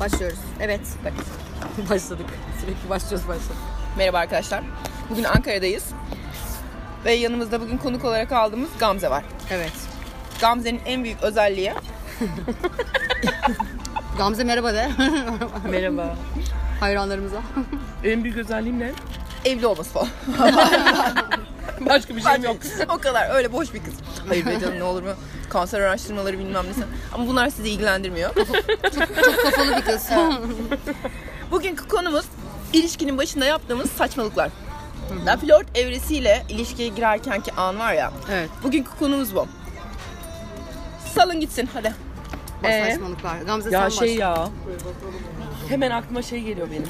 Başlıyoruz. Evet. bak- Başladık. Sürekli başlıyoruz başladık. Merhaba arkadaşlar. Bugün Ankara'dayız. Ve yanımızda bugün konuk olarak aldığımız Gamze var. Evet. Gamze'nin en büyük özelliği Gamze merhaba de. Merhaba. Hayranlarımıza. En büyük özelliğim ne? evli olması falan. Başka bir şeyim yok. o kadar öyle boş bir kız. Hayır be canım ne olur mu? Kanser araştırmaları bilmem nesi. Ama bunlar sizi ilgilendirmiyor. Kafalı bir kız. Bugünkü konumuz ilişkinin başında yaptığımız saçmalıklar. Ya flört evresiyle ilişkiye girerkenki an var ya. evet. Bugünkü konumuz bu. Salın gitsin hadi. Bak Ee? saçmalıklar. Gamze Ya sen şey başla. ya. Hemen aklıma şey geliyor benim.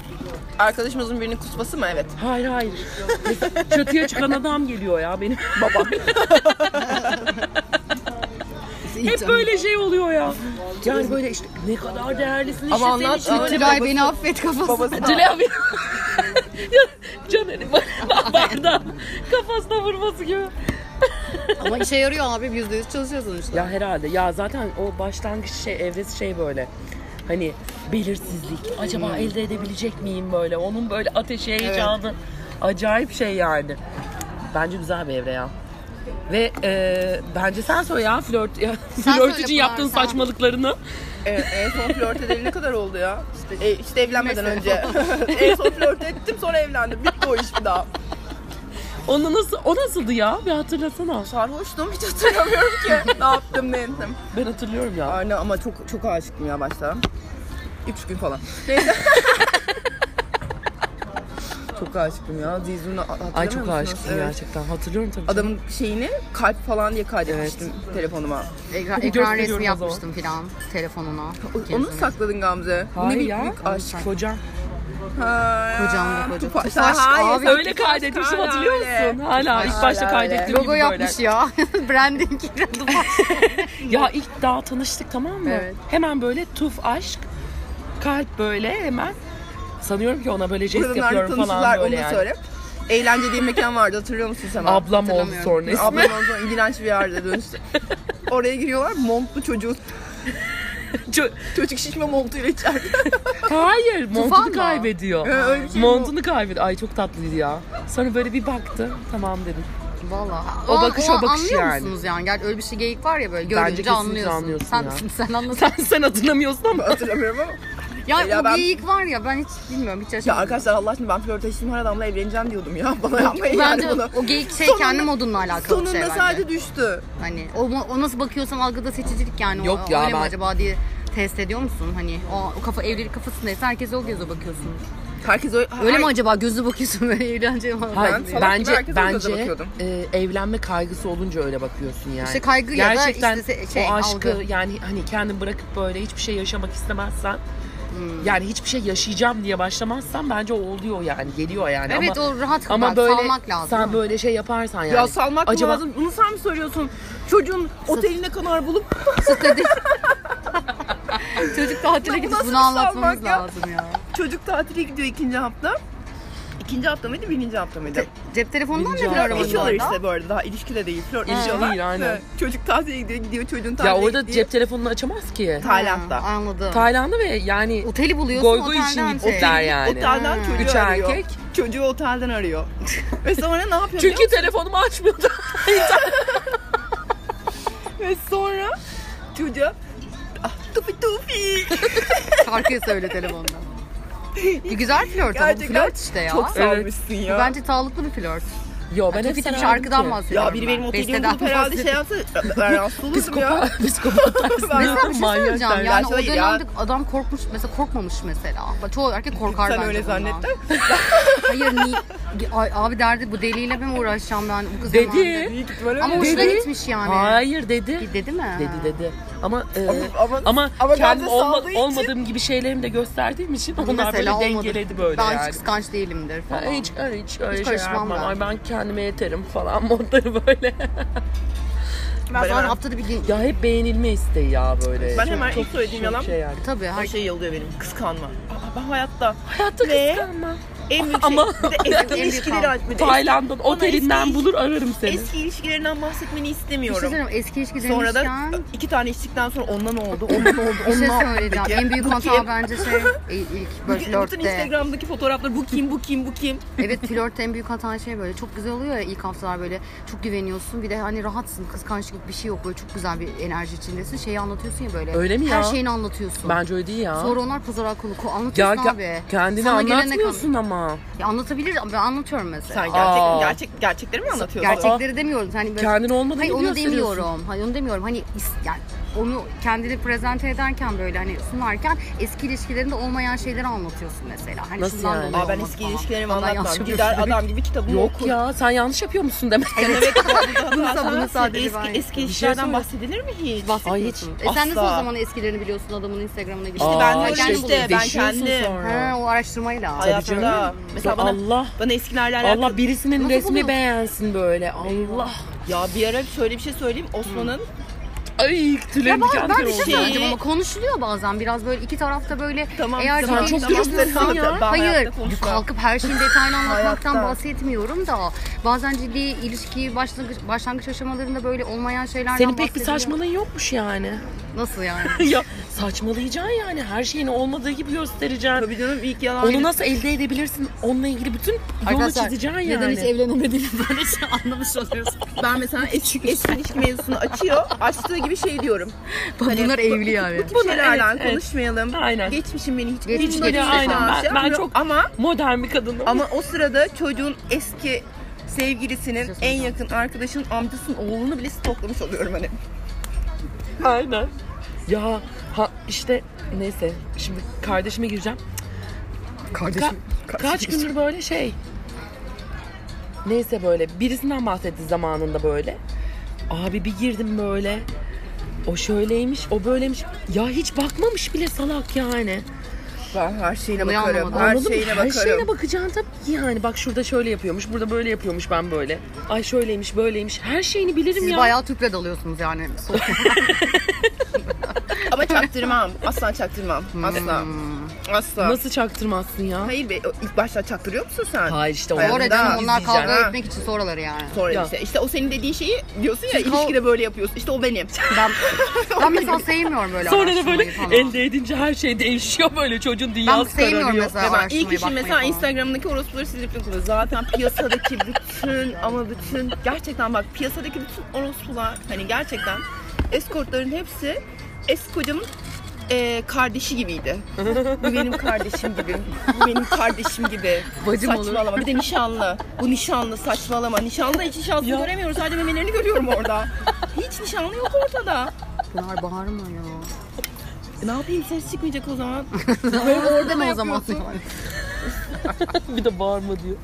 Arkadaşımızın birinin kusması mı? Evet. Hayır hayır. Mesela Çatıya çıkan adam geliyor ya benim. Baba. Hep böyle şey oluyor ya. Yani böyle işte ne kadar değerlisin işte Ama senin anlat- için. ama- Tülay beni affet kafası. Babası. Cüneyt abi. Ya, Caner'in ba- bardağı kafasına vurması gibi. Ama işe yarıyor abi. Yüzde yüz çalışıyor sonuçta. Ya herhalde. Ya zaten o başlangıç şey evresi şey böyle. Hani belirsizlik. Acaba elde edebilecek miyim böyle? Onun böyle ateşi heyecanı. Acayip şey yani. Bence güzel bir evre ya. Ve e, bence sen söyle ya flört ya, Sen flört söyle için Pınar, yaptığın sen. saçmalıklarını. Evet, en son flört edeli ne kadar oldu ya? E, işte evlenmeden önce. en son flört ettim sonra evlendim. Bitti o iş bir daha. Onu nasıl o nasıldı ya? Bir hatırlasana. Sarhoştum hiç hatırlamıyorum ki. ne yaptım ne ettim. Ben hatırlıyorum ya. Aynen ama çok çok aşıktım ya başta. Üç gün falan. Neyse. çok aşıktım ya. Zizun'u hatırlamıyor Ay çok musunuz? aşıktım Evet. gerçekten. Hatırlıyorum tabii. canım. Adamın şeyini kalp falan diye kaydetmiştim telefonuma. Ekran, ekran Gösteriyorum o resmi zaman. yapmıştım filan. Telefonuna. O- Onu mu sakladın Gamze. Bu Hayır ne ya. büyük aşk. Kocam. Ha. Kocam da koca. Tufa- Tufa aşk Hayır, abi. Öyle tufa aşk kaydetmişim hala hatırlıyor öyle. musun? Hala ilk başta öyle. kaydettiğim gibi Logo böyle. yapmış ya. Branding. Ya ilk daha tanıştık tamam mı? Evet. Hemen böyle tuf aşk, kalp böyle hemen. Sanıyorum ki ona böyle jest Kadınlarla yapıyorum falan tanıştılar onu böyle da yani. söyle. Eğlenceli bir mekan vardı hatırlıyor musun sen? Ablam oldu Hatırlamıyorum. sonra ismi. Ablam ondan sonra iğrenç bir yerde dönüştü. Oraya giriyorlar montlu çocuğu. Çö- Çocuk şişme montuyla içeride. Hayır montunu mı? kaybediyor. Ee, öyle bir şey mi montunu kaybediyor. Ay çok tatlıydı ya. Sonra böyle bir baktı. Tamam dedim. Valla. O bakış, o an bakış anlıyor yani. musunuz yani? Gel öyle bir şey geyik var ya böyle Bence görünce kesinlikle anlıyorsun. anlıyorsun sen, ya. sen anlasın. Sen, sen hatırlamıyorsun ama. Hatırlamıyorum ama. Ya, Ya o ben- geyik var ya ben hiç bilmiyorum hiç Ya yaşamadım. arkadaşlar Allah aşkına ben flört eşim her adamla evleneceğim diyordum ya. Bana yapmayın Bence yani bunu. o geyik şey Sonunda- kendi modunla alakalı bir Sonunda şey bence. sadece düştü. Hani o, o nasıl bakıyorsan algıda seçicilik yani. Yok o, ya öyle mi ben- acaba diye test ediyor musun? Hani o, o kafa evlilik kafasındaysa herkese o göze bakıyorsun. Herkes öyle... Öyle mi acaba gözü bakıyorsun böyle evleneceğim falan Hayır, diye. salak gibi bence herkese o göze bence bakıyordum. e, evlenme kaygısı olunca öyle bakıyorsun yani. İşte kaygı ya da Gerçekten işte se- şey, o aşkı algı. yani hani kendini bırakıp böyle hiçbir şey yaşamak istemezsen Hmm. yani hiçbir şey yaşayacağım diye başlamazsan bence o oluyor yani geliyor yani Evet ama o rahat ama bak, böyle salmak lazım. sen böyle şey yaparsan yani. Ya salmak acaba, lazım? Bunu sen mi söylüyorsun? Çocuğun oteline kadar bulup Sıkı değil. Çocuk tatile Ya bu gidip nasıl bir bunu anlatmamız salmak ya? lazım ya. çocuk tatile gidiyor ikinci hafta. İkinci hafta mıydı, birinci hafta mıydı? Cep telefonundan Birinci ne hafta. kadar Flört eşi olur oynuyorlar? işte bu arada. Daha ilişki de değil. Flört İlişki eşi olan. değil, aynen. Evet. Çocuk tatile gidiyor, gidiyor çocuğun tatile ya orada gittiği cep telefonunu açamaz ki. Tayland'da. Ha, Anladım. Tayland'ı ve yani Oteli buluyorsun goy goy için otelden şey. gittiler yani. Otelden çocuğu Üç arıyor. erkek. Çocuğu otelden arıyor. Ve sonra ne yapıyor? biliyor Çünkü telefonumu açmıyordu. musun? Ve sonra çocuğa ah, tufi tufi. Şarkıyı söyle telefonda. E, güzel flört ama bu Gerçekten flört işte ya. Çok Bu salmışsın ya. Bence sağlıklı bir flört. Yo ben Ben hep bir sarardım şarkıdan ki. bahsediyorum. ya biri benim ben. otelimi Besteden bulup herhalde şey bahsediyorum. yapsa ben rahatsız olurum ya. Psikopat, psikopat. Ben- Mesela bir şey Manyak söyleyeceğim derler. yani o Hayır ya. dönemde adam korkmuş mesela korkmamış mesela. Bak, Çoğu erkek korkar Sen bence öyle bundan. zannettin. Hayır ni Ay, abi derdi bu deliyle mi uğraşacağım ben bu kız Dedi. zamanında. Büyük ihtimalle Ama öyle. hoşuna Dedi. gitmiş yani. Hayır dedi. Dedi mi? Dedi dedi. Ama e, Ama- ama, ama kendim bence olma- saldığı için- olmadığım gibi şeylerimi de gösterdiğim için onlar böyle Hani Mesela olmadı. dengeledi böyle ben yani. hiç kıskanç değilimdir falan. Ben hiç, hiç öyle Hiç şey karışmam yapmam. ben. Ay ben kendime yeterim falan modları böyle. Ben Ben zaten hemen- haftada bir gün... Ya hep beğenilme isteği ya böyle. Ben hemen ilk söylediğim yalan- Şey yani. Tabii Her her şey yalıyor benim. Kıskanma. Aa, ben hayatta Hayatta Ve- kıskanma. en büyük şey. Ama- Bir de eski En büyük ilişkileri kavga. aç- bir de Tayland'ın Bana otelinden eski- bulur ararım seni. Eski ilişkilerinden bahsetmeni Bir şey istemiyorum. söyleyeyim, eski ilişki sonra da demişken iki tane içtikten sonra ondan oldu, ondan oldu, bir şey ondan oldu. söyleyeceğim. En büyük Bu hata kim? bence şey e, ilk böyle Bütün, bütün flörtte. Instagram'daki fotoğrafları bu kim, bu kim, bu kim. Evet flörtte en büyük hata şey böyle çok güzel oluyor ya ilk haftalar böyle çok güveniyorsun bir de hani rahatsın kıskançlık bir şey yok böyle çok güzel bir enerji içindesin şeyi anlatıyorsun ya böyle. Öyle mi Her ya? şeyini anlatıyorsun. Bence öyle değil ya. Sonra onlar pazar konuku ya anlatıyorsun ke- abi. kendini Sana gelene anlatmıyorsun ama. kadar- Ya anlatabiliriz ama ben anlatıyorum mesela. Sen Aa. gerçek, gerçek, gerçekleri mi anlatıyorsun? Gerçekleri demiyorum. Hani böyle, Kendin olmadığını Hayır onu gösteriyorsun. demiyorum. Hayır onu demiyorum. Hani is- yani onu kendini prezente ederken böyle hani sunarken eski ilişkilerinde olmayan şeyleri anlatıyorsun mesela. Hani Nasıl şundan yani? dolayı Aa, ben olmaz eski falan. ilişkilerimi Vallahi yanlış anlatmam. yapıyorsun Gider demek. adam gibi kitabımı Yok okur. ya sen yanlış yapıyor musun demek. Evet, bunu bunu sadece ben eski, eski yapıyorum. işlerden söyle. bahsedilir mi hiç? Ay hiç. Bahsetmiyorsun. E sen nasıl o asla. zaman eskilerini biliyorsun adamın Instagram'ına girip? İşte ben de öyle kendin işte, ben Deşiyorsun kendim. Ha, şey sonra. o araştırmayla. Tabii Hayatımda. canım. Mesela bana, Allah. bana eskilerle alakalı. Allah birisinin Nasıl resmi buluyorsun? beğensin böyle. Allah. Ya bir ara şöyle bir şey söyleyeyim. Osman'ın Ay Ya tüylerim ben, diken ben diken bir şey oldu. Şey- söyleyeceğim ama konuşuluyor bazen biraz böyle iki tarafta böyle Tamam, eğer tamam, çok tamam, konuşuyorsun tamam. ya. Ben Hayır hayatta konuşmam. kalkıp her şeyin detayını anlatmaktan Hayatta. bahsetmiyorum da bazen ciddi ilişki başlangıç, başlangıç aşamalarında böyle olmayan şeylerden Senin pek bir bahsediliyor. saçmalığın yokmuş yani. Nasıl yani? ya saçmalayacaksın yani. Her şeyini olmadığı gibi göstereceksin. tabii canım ilk yalan Onu nasıl elde edebilirsin? Onunla ilgili bütün yolu çizeceksin yani. neden hiç evlenemediğini böyle şey anlamış oluyorsun. Ben mesela eski, eski ilişki mevzusunu açıyor. Açtığı gibi şey diyorum. Hani Bunlar evli yani. Bu şeylerden evet, evet. konuşmayalım. Aynen. Geçmişim beni hiç Geçmiş umurumda beni, değil. aynen. Falan Ben- şey ben yapmıyorum. çok- ama Modern bir kadın. ama o sırada çocuğun eski sevgilisinin en yakın arkadaşının amcasının oğlunu bile stoklamış oluyorum hani. Aynen. Ya ha işte neyse şimdi kardeşime gireceğim. Ka- Kardeşim. kaç gündür böyle şey. Neyse böyle birisinden bahsetti zamanında böyle. Abi bir girdim böyle. O şöyleymiş, o böyleymiş. Ya hiç bakmamış bile salak yani. Ben her şeyine Bunu bakarım. anlamadım. Her Anladın mı? şeyine Her bakarım. şeyine bakacaksın tabii ki yani. Bak şurada şöyle yapıyormuş, burada böyle yapıyormuş ben böyle. Ay şöyleymiş, böyleymiş. Her şeyini bilirim Siz ya. bayağı tüple dalıyorsunuz yani. Ama çaktırmam. Asla çaktırmam. Asla. Asla. Nasıl çaktırmazsın ya? Hayır be, o ilk başta çaktırıyor musun sen? Hayır işte Hayır, Orada orada canım onlar izleyeceksin. kavga ha. etmek için sonraları yani. Sonra Ya. işte. İşte o senin dediğin şeyi diyorsun ya Siz kal- ilişkide böyle yapıyorsun. İşte o benim. Ben, ben mesela sevmiyorum böyle Sonra da böyle araştırmayı falan. elde edince her şey değişiyor böyle çocuğun Ben dünyası sevmiyorum kararıyor. mesela Ben ilk araştırmayı işim bakmayı mesela falan. Instagram'daki orospuları silip yıkılır. Zaten piyasadaki bütün ama bütün gerçekten bak piyasadaki bütün orospular hani gerçekten eskortların hepsi eski kocamın eee, kardeşi gibiydi. Bu benim kardeşim gibi. Bu benim kardeşim gibi. Bacım olur. saçmalama. Bir de nişanlı. Bu nişanlı saçmalama. Nişanlı hiç nişanlı Ya. göremiyoruz. Sadece memelerini görüyorum orada. Hiç nişanlı yok ortada. Pınar bağırma ya. E, Ne yapayım ses çıkmayacak o zaman. Orada mı o zaman? bir de bağırma diyor.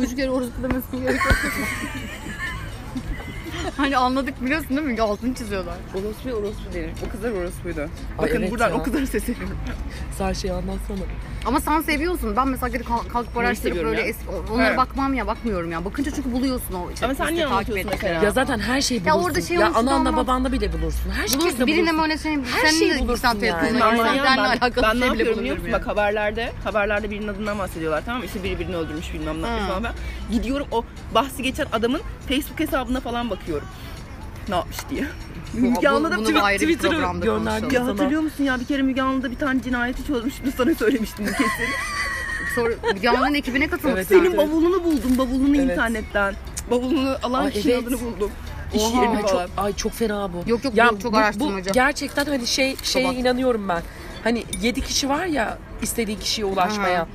Üç kere orospu demesi gerekiyor. hani anladık biliyorsun değil mi? Altını çiziyorlar. Orospu orospu derim. O kızlar orospuydu. Ay Bakın evet buradan ya. o kızları sesleniyorum. Sen şey anlatsana. Ama sen seviyorsun. Ben mesela gidip kalk- kalkıp araştırıp seviyorum böyle ya? eski, onlara He. bakmam ya bakmıyorum ya. Bakınca çünkü buluyorsun o işte. Ama sen işte niye takip anlatıyorsun ettikleri. mesela? Ya zaten her şeyi bulursun. Ya Ya orada şey olursa ananla anlat. babanla bile bulursun. Her Bulursun. şeyle Birine mi bulursun. öyle şey? Her Senin şeyi de bulursun sen telefonuna yani. girsen Aman ya, seninle ben, alakalı ben bir ne şey bile yapıyorum biliyor musun? bulamıyorum Bak haberlerde, haberlerde birinin adından bahsediyorlar tamam mı? İşte biri birini öldürmüş bilmem ne yapmış Hı. falan ben. Gidiyorum o bahsi geçen adamın Facebook hesabına falan bakıyorum. Ne yapmış diye. ya. Müge Bu- Anlı'da bunu tweet- ayrı bir Twitter'a programda gönderdi. konuşalım. ya hatırlıyor musun ya bir kere Müge Anlı'da bir tane cinayeti çözmüştüm sana söylemiştim kesin. Sonra Müge ekibine katılmak Evet, isterdim. Senin bavulunu buldum bavulunu Evet. internetten. Cık, Bavulunu alan Ay, kişinin evet. adını buldum. İş Oha, yerini ay, çok, falan. ay çok fena bu. Yok, yok, bu çok bu- bu araştırmacı. gerçekten hani şey şeye Sabah. inanıyorum ben. Hani 7 kişi var ya istediği kişiye ulaşmaya. Aha.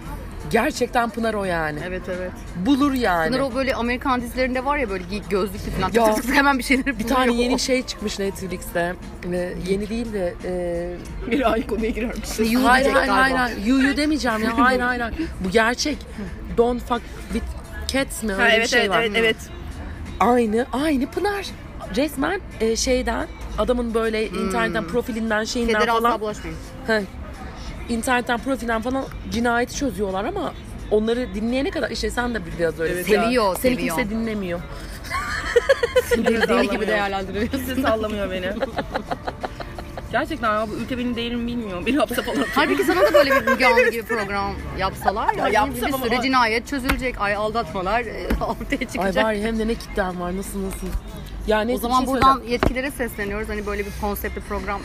Gerçekten Pınar o yani. Evet evet. Bulur yani. Bunlar o böyle Amerikan dizilerinde var ya böyle giyik gözlüklü falan. Ya. Tık tık tık hemen bir şeyleri Bir tane buluyor. yeni şey çıkmış Netflix'te. Ee, yeni değil de e, Bir ay konuya girermiş. Şimdi yuh hayır diyecek hayır hayır, galiba. hayır. You you demeyeceğim ya. Hayır hayır hayır. Bu gerçek. Don't fuck with cats mi? Öyle Ha, bir evet şey evet var. evet evet. Aynı aynı Pınar. Resmen e, şeyden adamın böyle internetten profilinden şeyinden Kederi falan asla bulaşmayın. Heh. internetten profilinden falan cinayeti çözüyorlar ama onları dinleyene kadar işte sen de biraz öyle. Evet Seni- ya. Seviyor, Seni seviyor. kimse dinlemiyor. Kimse Deli sallamıyor. gibi değerlendiriyorsun. Kimse sallamıyor beni. Gerçekten ya bu ülke benim değerimi bilmiyor. Beni hapse falan atıyor. Halbuki sana da böyle bir Müge Anlı gibi program yapsalar ya, yapsam bir, bir ama- sürü cinayet çözülecek. Ay aldatmalar e, ortaya Ay çıkacak. var ya, hem de ne kitlen var nasıl nasıl. Yani şey o zaman buradan yetkililere sesleniyoruz. Hani böyle bir konseptli program.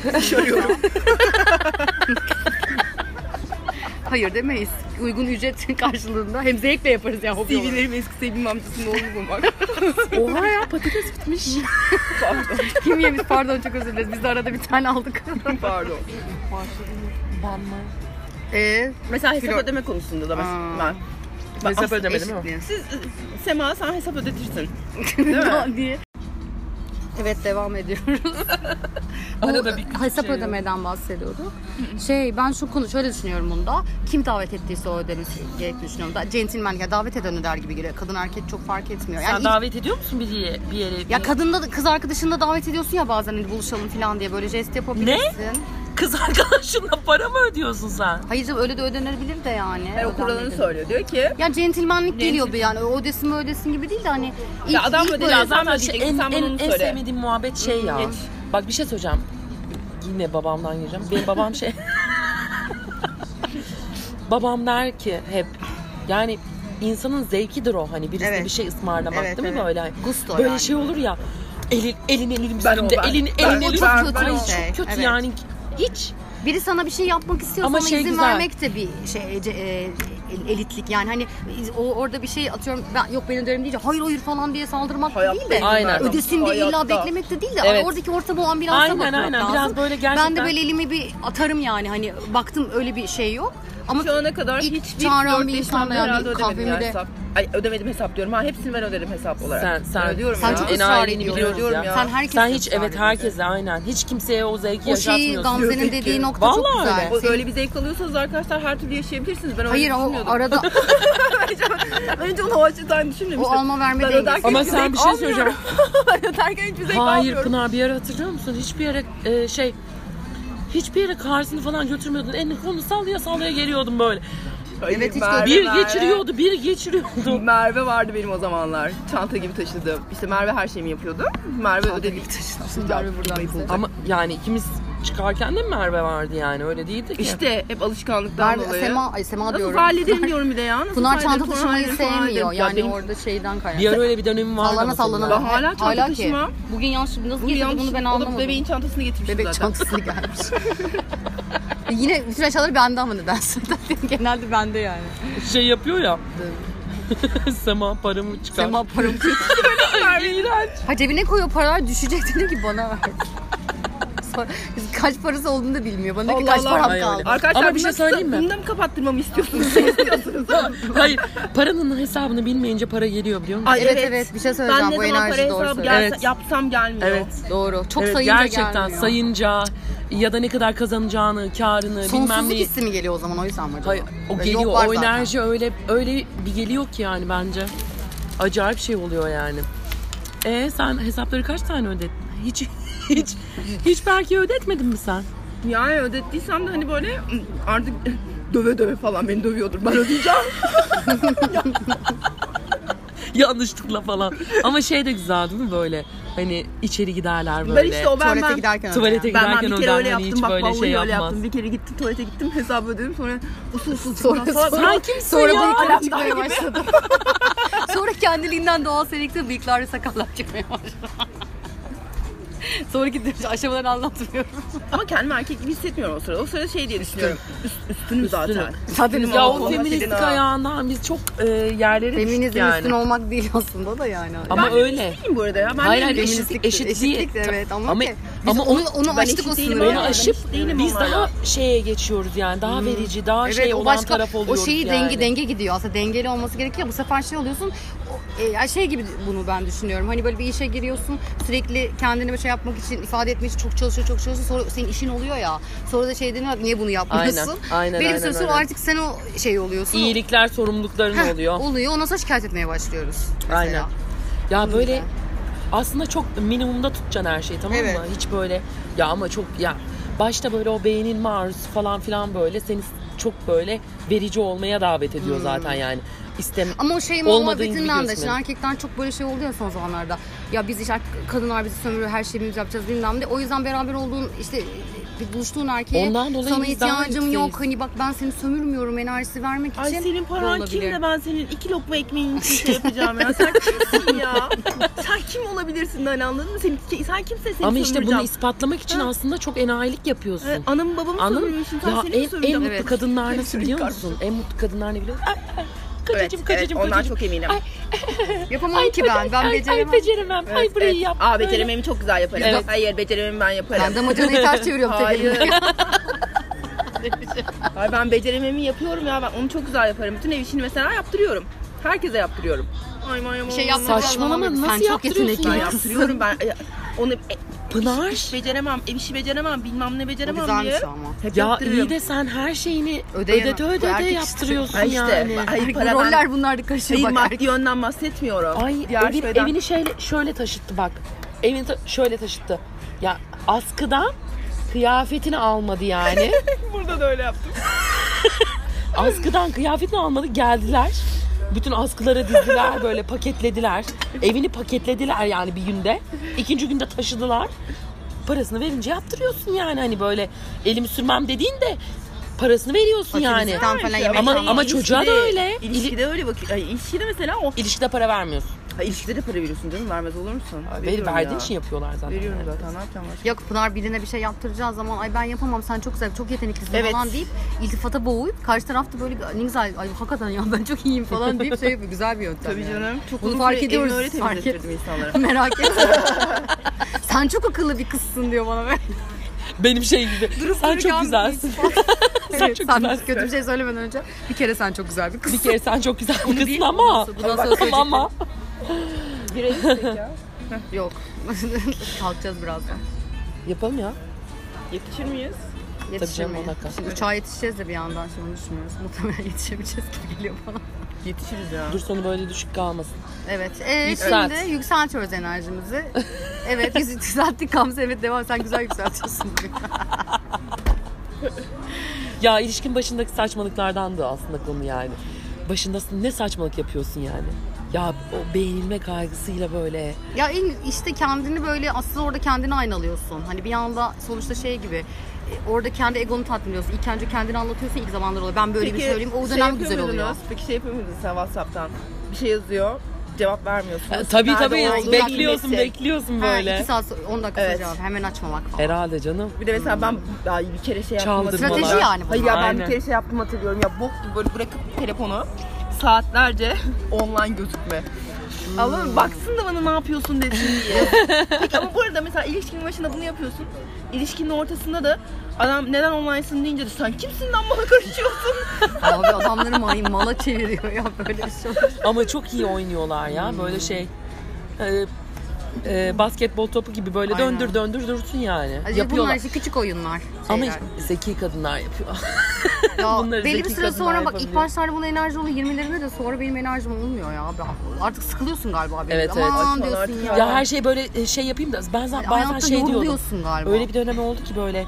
Hayır demeyiz. Uygun ücret karşılığında hem zevkle yaparız ya hobi olarak. CV'lerim eski sevgilim amcasının oğlu bulmak. Oha ya patates bitmiş. Kim yemiş pardon çok özür dileriz. Biz de arada bir tane aldık. Pardon. Ee, Mesela hesap Kilo- ödeme konusunda da Aa. mesela ben. ben Hesap aslında ödemeli mi? eşitliği. Siz, Sema sen hesap ödetirsin. diye. Evet devam ediyoruz. Arada Bu, e, bir küçük hesap şey yok. ödemeden bahsediyorduk. Şey ben şu konu şöyle düşünüyorum bunda. Kim davet ettiyse o ödemesi gerektiğini düşünüyorum. Da, centilmen ya davet eden öder gibi geliyor. Kadın erkek çok fark etmiyor. Yani Sen ilk- davet ediyor musun bir yere? Bir yere ya bir- kadında da- kız arkadaşını da davet ediyorsun ya bazen hani buluşalım falan diye böyle jest yapabilirsin. Kız arkadaşınla para mı ödüyorsun sen? Hayır canım, öyle de ödenebilir de yani. Yani o kuralını Ödenmedi. söylüyor. Diyor ki Ya centilmenlik geliyor bir yani. O ödesin mi ödesin gibi değil de hani ilk, Ya adam ilk ödedi, böyle- adam Zaten Sen şey, en, diyecektin, sen bana en, onu en söyle. sevmediğim muhabbet şey ya. geç. Bak bir şey söyleyeceğim. Yine babamdan gireceğim. Benim babam şey... babam der ki hep yani insanın zevkidir o hani birisine Evet. bir şey ısmarlamak Evet, değil mi evet. böyle? Gusto böyle yani. şey olur ya. Elin elin elin Ben o, üstünde, ben. elin Ben elin o, elin ben üstünde. o. Ay, Şey, çok kötü evet. yani. Hiç Biri sana bir şey yapmak istiyor Ama sana şey izin güzel. vermek de bir şey ece- e, el- elitlik yani hani iz- o orada bir şey atıyorum ben yok benim öderim deyince hayır hayır falan diye saldırmak da Hayatta değil de izin Aynen. vermem. ödesin diye illa Hayatta. beklemek de değil de Evet. oradaki ortamı o ambilansa Aynen, bakmak aynen. lazım. Biraz Ben böyle de gerçekten- böyle elimi bir atarım yani hani baktım öyle bir şey yok ama Şu ana kadar ilk hiç bir çağıran flört bir insanla insanla yani herhalde ödemedim kahvemi ya de- hesap. Ay ödemedim hesap diyorum. Ha hepsini ben öderim hesap olarak. Sen sen Ben ödüyorum Sen ya. çok En ısrar aileni ediyorsun. biliyoruz Ödüyorum ya. sen herkese Sen hiç ısrar evet ediyorsun. herkese aynen. Hiç kimseye o zevki o şeyi yaşatmıyorsun. Gamze'nin Yok, dediği peki. nokta çok Vallahi güzel. öyle. O, öyle bir zevk alıyorsanız arkadaşlar her türlü yaşayabilirsiniz. Ben öyle Hayır o düşünmüyordum. arada Önce onu o açıdan düşünmemiştim. O alma verme Ben dengesi. öderken Ama hiçbir sen zevk bir şey almıyorum. söyleyeceğim. Ben öderken hiçbir zevk Hayır almıyorum. Pınar bir yere hatırlıyor musun? Hiçbir yere e, şey hiçbir yere karsını falan götürmüyordun. Elini kolunu sallaya sallaya geliyordum böyle. Hayır, Evet, hiç Merve, Bir Merve. geçiriyordu, bir geçiriyordu. Merve vardı benim o zamanlar. Çanta gibi taşıdım. İşte Merve her şeyimi yapıyordu. Merve ödedi. Merve buradan bize. Ama yani ikimiz çıkarken de Merve vardı yani öyle değildi ki. İşte hep alışkanlıktan Merve- dolayı. Sema, ay Sema Nasıl diyorum. hallederim diyorum bir de ya. Nasıl Pınar çanta hallederim, sonra taşımayı hallederim, sonra sevmiyor. hallederim. Ya Yani benim- orada şeyden Bir kaynaklı. ara öyle bir dönemim vardı. Sallana mesela. sallana. Ben hala çanta ki. taşımam. Bugün yanlış nasıl Bunu getirdi yanlış. bunu ben o da anlamadım. bebeğin çantasını getirmiştim Bebek zaten. çantası gelmiş. Yine bütün eşyaları bende ama nedense. Genelde bende yani. Şey yapıyor ya. Sema paramı çıkar. Sema paramı İğrenç. Ha cebine koyuyor paralar düşecek dedi ki bana ver. Sonra kaç parası olduğunu da bilmiyor. Bana diyor ki Allah kaç Allah. param Ay öyle. kaldı. Arkadaşlar Ama bir şey bundan- söyleyeyim mi? Bundan mı kapattırmamı istiyorsunuz? Ne istiyorsunuz? Hayır paranın hesabını bilmeyince para geliyor biliyor musun? Ay, Evet, evet, bir şey söyleyeceğim. Ben Bu ne zaman para enerji doğru hesabı söylüyor. gelse, Evet. yapsam gelmiyor. Evet. Doğru. Çok Evet, sayınca gerçekten gelmiyor. sayınca ya da ne kadar kazanacağını, karını, bilmem Sonsuzluk neyi. hissi mi geliyor o zaman o yüzden mi acaba? Hayır, o Yok, geliyor, var o zaten. enerji öyle öyle bir geliyor ki yani bence. Acayip şey oluyor yani. E sen hesapları kaç tane ödedin? Hiç hiç hiç belki ödetmedin mi sen? Yani ödettiysem de hani böyle artık döve döve falan beni dövüyordur. Ben ödeyeceğim. Yanlışlıkla falan. Ama şey de güzel değil mi böyle? Hani içeri giderler böyle. ben işte o ben Tuvalete ben. giderken öyle Tuvalete yani. Ben, ben giderken bir kere öden öyle hani yaptım hiç bak böyle vallahi şey öyle yapmaz. yaptım. Bir kere gittim tuvalete gittim hesabı ödedim sonra usul usul Sonra- çıktım falan. sonra- Ben kimsin Sonra ya? bıyıklar Aramdan çıkmaya başladı. Sonra kendiliğinden doğal selikte bıyıklar ve sakallar çıkmaya başladı. Sonraki derece aşamaları anlatmıyorum. Ama kendimi erkek gibi hissetmiyorum o sırada. O sırada şey diye düşünüyorum. Üst, üstünüm zaten. Zaten Üstünüm Hani Ya olmam o Allah feministlik lazım. ayağından biz çok e, yerlere düştük Feminizm yani. üstün olmak değil aslında da yani. Ama Yani öyle. Değilim bu arada ya. Ben Hayır hayır değilim. eşitlik, eşitliktir, eşitliği. eşitliktir, evet ama ama, ki biz ama onu, onu, onu Ben açtık eşit o değilim sınırı. ama yani. ben Hani aşıp eşit değilim biz onlarla. daha şeye geçiyoruz yani daha verici daha Hmm. Evet şey o olan başka taraf oluyoruz o şeyi yani. denge denge gidiyor aslında dengeli olması gerekiyor bu sefer şey oluyorsun o- e, ya şey gibi bunu ben düşünüyorum hani böyle bir işe giriyorsun sürekli kendini bir şey yapmak için ifade etmek için çok çalışıyor çok çalışıyorsun sonra senin işin oluyor ya sonra da şey deniyor niye bunu yapmıyorsun Aynen, aynen, Belli bir aynen, süre sonra aynen. artık sen o şey oluyorsun İyilikler O- sorumlulukların Heh, oluyor. oluyor ondan sonra şikayet etmeye başlıyoruz mesela. Aynen. Ya güzel. böyle aslında çok minimumda tutacaksın her şeyi tamam Evet. mı? Hiç böyle ya ama çok ya başta böyle o beğenilme arzusu falan filan böyle seni çok böyle verici olmaya davet Hmm. ediyor zaten yani. İstem Ama o şey Olmadığın gibi muhabbetinden de gözükmedi. şimdi erkekler çok böyle şey oldu ya son zamanlarda. Ya biz işte kadınlar bizi sömürüyor her şeyimizi yapacağız bilmem ne. O yüzden beraber olduğun işte bir buluştuğun erkeğe Ondan dolayı sana biz daha ihtiyacım yükseğiz. yok. Hani bak ben seni sömürmüyorum enerjisi vermek için. Ay senin de paran kim olabilir. de ben senin iki lokma ekmeğin için şey yapacağım ya. Sen kimsin ya? Sen kim olabilirsin de hani anladın mı? Sen, sen kimse seni Ama işte bunu sömüreceğim. ispatlamak için Ha. aslında çok enayilik yapıyorsun. Evet, anamı babamı Anladın mı? sömürmüşsün. Sen Ya seni mi en, en sömüreceğim? mutlu Evet. kadınlar Seni nasıl biliyor sömüreceğim. musun? En mutlu kadınlar ne biliyor musun? Ay, ay, Kaçacım, kaçacım, ondan kaçacım. çok eminim. Ay, Yapamam ki ben. Ben ay, beceremem. Ay beceremem. Evet, ay burayı evet. yap. Aa böyle. becerememi çok güzel yaparım. Evet. Hayır becerememi ben yaparım. ben damacanayı ters çeviriyorum tek Hayır. elimle. Ay ben becerememi yapıyorum ya ben onu çok güzel yaparım. Bütün ev işini mesela yaptırıyorum. Herkese yaptırıyorum. Ay ay, ay Bir şey ay, yapmayacağız Saçmalama, zaman nasıl Sen çok yaptırıyorsun yetenekli Ben ya? bir kızsın. yaptırıyorum ben e, onu e, Pınar. iş, iş beceremem, ev işi beceremem, bilmem ne Bu beceremem diye. güzelmiş ama. Hep Ya yaptırıyorum. iyi de sen her şeyini Ödeyemem. ödete Bu ödete erkek işi. yaptırıyorsun Ay işte, yani. ay, Ay, bu paradan- roller bunlar da karışıyor Hayır bak. maddi erkek. yönden bahsetmiyorum. Ay Diğer evin- şeyden. evini şöyle, şöyle taşıttı bak. Evini ta- şöyle taşıttı. Ya askıdan kıyafetini almadı yani. Burada da öyle yaptım. askıdan kıyafetini almadı geldiler. Bütün askılara dizdiler böyle paketlediler. Evini paketlediler yani bir günde. İkinci günde taşıdılar. Parasını verince yaptırıyorsun yani hani böyle elimi sürmem dediğin de parasını veriyorsun yani. Paketimizden falan yemek Ama- almam. ama çocuğa da öyle. İlişkide öyle bak. Ay, ilişkide mesela o. İlişkide para vermiyorsun. Ay, ilişkide de para veriyorsun canım vermez olur musun? Ver, Veriyorum verdiğin ya. için yapıyorlar zaten. Veriyorum zaten ne yapacağım başka? Yok Pınar birine bir şey yaptıracağı zaman ay ben yapamam sen çok güzel çok yeteneklisin Evet. falan deyip iltifata boğuyup karşı tarafta böyle bir, ne güzel ay hakikaten ya ben çok iyiyim falan deyip şey yapıyor güzel bir yöntem. Tabii yani. canım. Çok Bunu uzun fark süre ediyoruz, Evimi öyle fark et- temizlettirdim insanlara. Merak etme. sen çok akıllı bir kızsın diyor bana böyle. Benim şey gibi. sen çok dururken şey güzelsin. sen Evet, çok sen güzelsin. kötü bir şey söylemeden önce bir kere sen çok güzel bir kızsın. Bir kere sen çok güzel bir kızsın değil, ama. bundan sonra- bundan sonra Ama- ama. Yok. Kalkacağız birazdan. Yapalım ya. Yetişir miyiz? Yetişemeyiz. on dakika. Şimdi uçağa yetişeceğiz de bir yandan şimdi onu düşünüyoruz. Muhtemelen yetişemeyeceğiz gibi geliyor bana. Yetişiriz ya. Dur sonu böyle düşük kalmasın. Evet. Ee, Yükselt. Şimdi yükseltiyoruz enerjimizi. evet biz yükselttik Gamze. Evet devam sen güzel yükseltiyorsun. Ya ilişkin başındaki saçmalıklardan da aslında konu yani. Başında ne saçmalık yapıyorsun yani? Ya o beğenilme kaygısıyla böyle. ya en işte kendini böyle aslında orada kendini aynalıyorsun. Hani bir anda sonuçta şey gibi e, orada kendi egonu tatmin ediyorsun. İlk önce kendini anlatıyorsun ilk zamanlar oluyor. Ben böyle bir söyleyeyim. O şey dönem yapıyor güzel oluyor. muydunuz? Peki şey yapıyor muydun sen Whatsapp'tan? Bir şey yazıyor, cevap vermiyorsun. Ya, E, tabii Nerede tabii olduğunu olduğunu bekliyorsun bilmesin. bekliyorsun Ha, böyle. iki saat sonra- 10 dakika sonra Evet. cevap. Hemen açmamak falan. Herhalde canım. Bir de mesela ben daha bir kere şey yaptım. Çaldırmalar. hatırlıyorum. Strateji yani bunlar. Hayır ya ben Aynen. bir kere şey yaptım hatırlıyorum ya bok gibi böyle bırakıp telefonu saatlerce online gözükme. Anladın mı? Baksın da bana ne yapıyorsun desin diye. Peki ama bu arada mesela ilişkinin başında bunu yapıyorsun. İlişkinin ortasında da adam neden online'sın deyince de sen kimsin lan bana karışıyorsun? Abi adamları mal- mala çeviriyor ya böyle bir şey. olur. Ama çok iyi oynuyorlar ya. Hmm. Böyle şey e, e, basketbol topu gibi böyle Aynen. döndür döndür dursun yani. Hani Bunlar Yapıyorlar. işte küçük oyunlar. Ama şeyler. zeki kadınlar yapıyor. Ya Bunları belli bir zeki süre sonra kadınlar bak ilk yapabiliyor. başlarda buna enerji oluyor 20'lerinde de sonra benim enerjim olmuyor ya. Ben- Artık sıkılıyorsun galiba. benim. Evet, evet. Aman Saçmalar diyorsun ya. ya her şey böyle e, şey yapayım da ben za- bazen Hayatta şey diyordum. yoruluyorsun galiba. Öyle bir dönem oldu ki böyle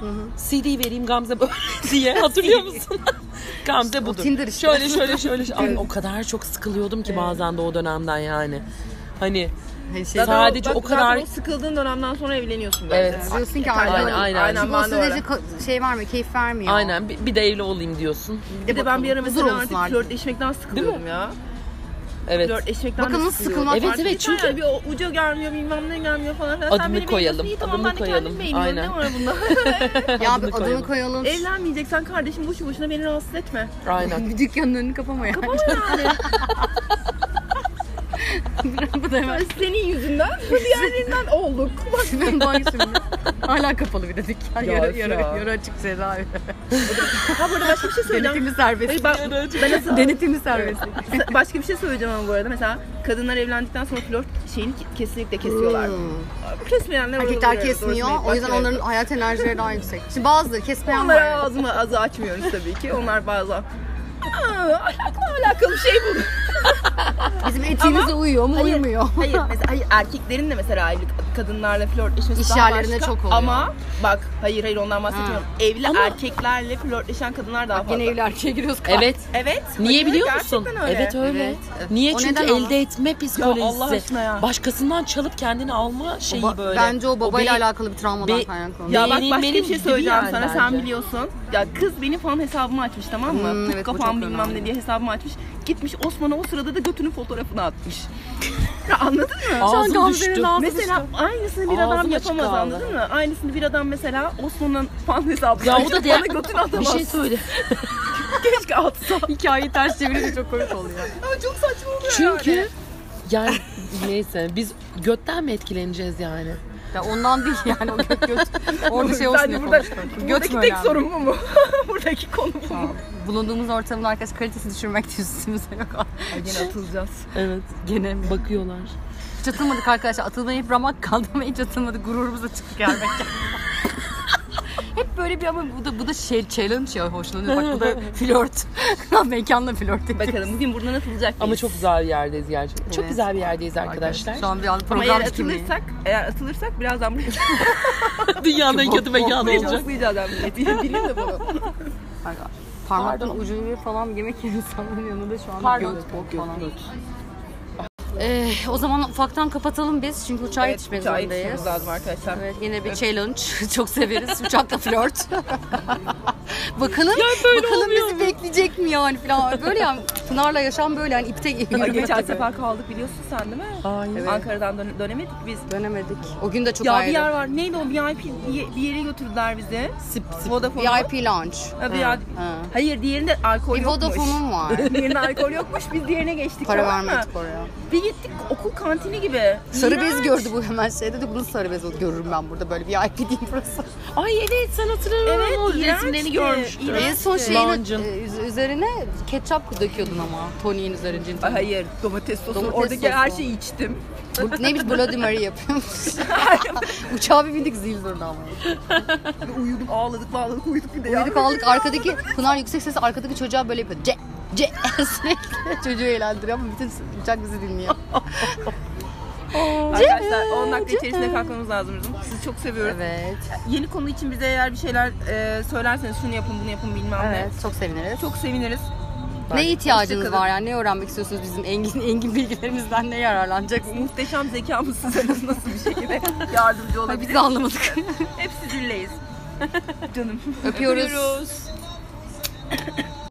CD vereyim Gamze böyle diye hatırlıyor musun? Gamze budur. Tinder işte. Şöyle şöyle şöyle. Ay, o kadar çok sıkılıyordum ki bazen de o dönemden yani. Hani Hani şey, Zaten- Sadece o zaten kadar- o sıkıldığın dönemden sonra evleniyorsun. Evet. zaten. diyorsun ki Aynen, aynen, aynen. aynen. Ben O de sürece öyle. ka- şey vermiyor, keyif vermiyor. aynen bir, bir de evli olayım diyorsun. Bir de ben bir ara bakalım. Huzur mesela olsun artık artık. flörtleşmekten sıkılıyordum ya. Evet. Flörtleşmekten Bakın de nasıl sıkılıyorum. sıkılmak Evet, var. evet, Yeter çünkü- ya, bir o ucu gelmiyor bilmem ne gelmiyor falan. filan. Adını Sen beni koyalım, beğeniyorsun, iyi, tamam, adını ben de kendim koyalım. beğeniyorum. Aynen. Ne var bunda? Ya bir Adını adını koyalım. Evlenmeyeceksen kardeşim boşu boşuna beni rahatsız etme. Aynen. Bir dükkanın önünü kapama ya. Ama yani Bu da hemen. senin yüzünden diğerlerinden olduk. Bak Bak şimdi. Hala kapalı bir de dükkan. Ya, Yarı, yarı, ya. yarı açık cezaevi. ha burada başka bir şey söyleyeceğim. Denetimi serbest. Hayır, ben, ben nasıl- Denetimi serbest. başka bir şey söyleyeceğim ama bu arada mesela kadınlar evlendikten sonra flört şeyini kesinlikle kesiyorlar. Hmm. Kesmeyenler Erkekler oraları- kesmiyor. orasını- O yüzden Bak, onların hayat enerjileri daha yüksek. Şimdi bazıları kesmeyen Onlara var. ağzımı azı açmıyoruz tabii ki. Onlar bazen Aa, ahlakla alakalı şey bu. Bizim etiğimize uyuyor mu uymuyor. Hayır mesela hayır, erkeklerin de mesela evli kadınlarla flörtleşmesi İş daha yerlerinde başka. çok oluyor. Ama bak hayır hayır ondan bahsetmiyorum. Evli Ama- erkeklerle flörtleşen kadınlar daha fazla. Yine evli erkeğe giriyoruz. Evet. Evet. Niye hayır, biliyor musun? gerçekten öyle. Evet öyle. Evet. Niye? O Çünkü neden ama? elde etme psikolojisi. Allah aşkına ya. Başkasından çalıp kendini alma şeyi Ba- böyle. Bence o babayla beyin- alakalı bir travmadan be- kaynaklanıyor. Ya bak Benim- başka benim bir şey gibi söyleyeceğim yani sana bence. sen biliyorsun. Ya kız benim fan hesabımı açmış tamam mı? Hmm, Hmm, evet, bu çok kafam bilmem önemli. ne diye hesabımı açmış. Gitmiş Osman'a o sırada da götünün fotoğrafını atmış. ya anladın mı? Ağzım Şu an düştü. Gamze'nin ağzı Mesela aynısını bir Ağzım adam açık yapamaz kaldı. anladın mı? Aynısını bir adam mesela Osman'ın fan hesabı. Ya o da bana değer. götünü atamaz. Bir şey söyle. Keşke atsa. Hikayeyi ters çevirince çok komik oluyor. Ama çok saçma oluyor Çünkü yani. yani neyse biz götten mi etkileneceğiz yani? Ya ondan değil yani o göt göt. Orada şey olsun Bence diye burada, konuştum. Göt buradaki böyle tek yani. sorun bu mu? buradaki konu bu mu? Bulunduğumuz ortamın arkadaş kalitesini düşürmek de üstümüze yok. Gene atılacağız. Evet. Gene mi? Bakıyorlar. Hiç atılmadık arkadaşlar. Atılmayıp ramak kaldı ama hiç atılmadık. Gururumuz açık gelmek. Hep böyle bir ama bu da bu da şey challenge ya hoşlanıyor. Bak bu da flört. Mekanla flört ediyor. Bakalım bugün buradan atılacak Ama mıyız? çok güzel bir yerdeyiz gerçekten. Çok Evet. güzel bir yerdeyiz arkadaşlar. Şu an bir an Ama eğer program kimliği. atılırsak, eğer atılırsak birazdan buraya Dünyanın en kötü mekanı Olacak. olacak. Toplayacağız hem bileti. Bilin de bunu. Pardon. Parmaktan ucuyla falan yemek yiyen insanların yanında şu an Pardon. göt bok falan. Ee, o zaman ufaktan kapatalım biz çünkü uçağa yetişmek uçağa zorundayız. yetişmemiz lazım arkadaşlar. Evet, yine bir challenge. Çok severiz. Uçakla flört. bakalım bakalım bizi bekleyecek mi yani falan. Böyle yani Pınar'la yaşam böyle yani ipte Ay, yürümek Geçen gibi. sefer kaldık biliyorsun sen değil mi? Hayır. Ankara'dan dön- dönemedik biz. Dönemedik. O gün de çok Ya bir ayrı. yer var. Neydi o VIP diye- bir yere götürdüler bizi. Sip, sip. Vodafone'a. VIP lounge. Ha, bir Ha, yer- ha. Hayır diğerinde alkol Bir yokmuş. Vodafone'um var. diğerinde alkol yokmuş. Biz diğerine geçtik. Para tamam mı? vermedik oraya. Bir gittik okul kantini gibi. Sarı İğrenç. bez gördü bu hemen şey dedi. Bunun sarı bez oldu. Görürüm ben burada böyle VIP değil burası. Ay evet sen hatırlarım Evet, ama o iğrençti, resimlerini görmüştüm. iğrençti. En son şeyin Lounge'ın. e, üz- üzerine ketçap döküyordun ama. Tony'in üzerine. gin Ay, tonic. Hayır domates sosu. Domates Oradaki sosu. her şeyi içtim. Bu- Neymiş Bloody Mary yapıyormuş. Uçağa bir bindik zil durdu ama. Bir uyuduk ağladık ağladık uyuduk bir de ya. Uyuduk aldık arkadaki Pınar yüksek sesle arkadaki çocuğa böyle yapıyor. C C sürekli çocuğu eğlendiriyor ama bütün uçak bizi dinliyor. Arkadaşlar 10 dakika içerisinde kalkmamız lazım. bizim. Sizi çok seviyoruz. Evet. Yeni konu için bize eğer bir şeyler e, söylerseniz şunu yapın bunu yapın bilmem Evet. Çok seviniriz. ne. Çok seviniriz. ne ihtiyacınız Hoşçakalın. var yani? Ne öğrenmek istiyorsunuz bizim engin engin bilgilerimizden ne yararlanacaksınız? Muhteşem zekamız size nasıl bir şekilde yardımcı Ay, biz olabilir. de anlamadık. Hep sizinleyiz. Canım. Öpüyoruz. Öpüyoruz.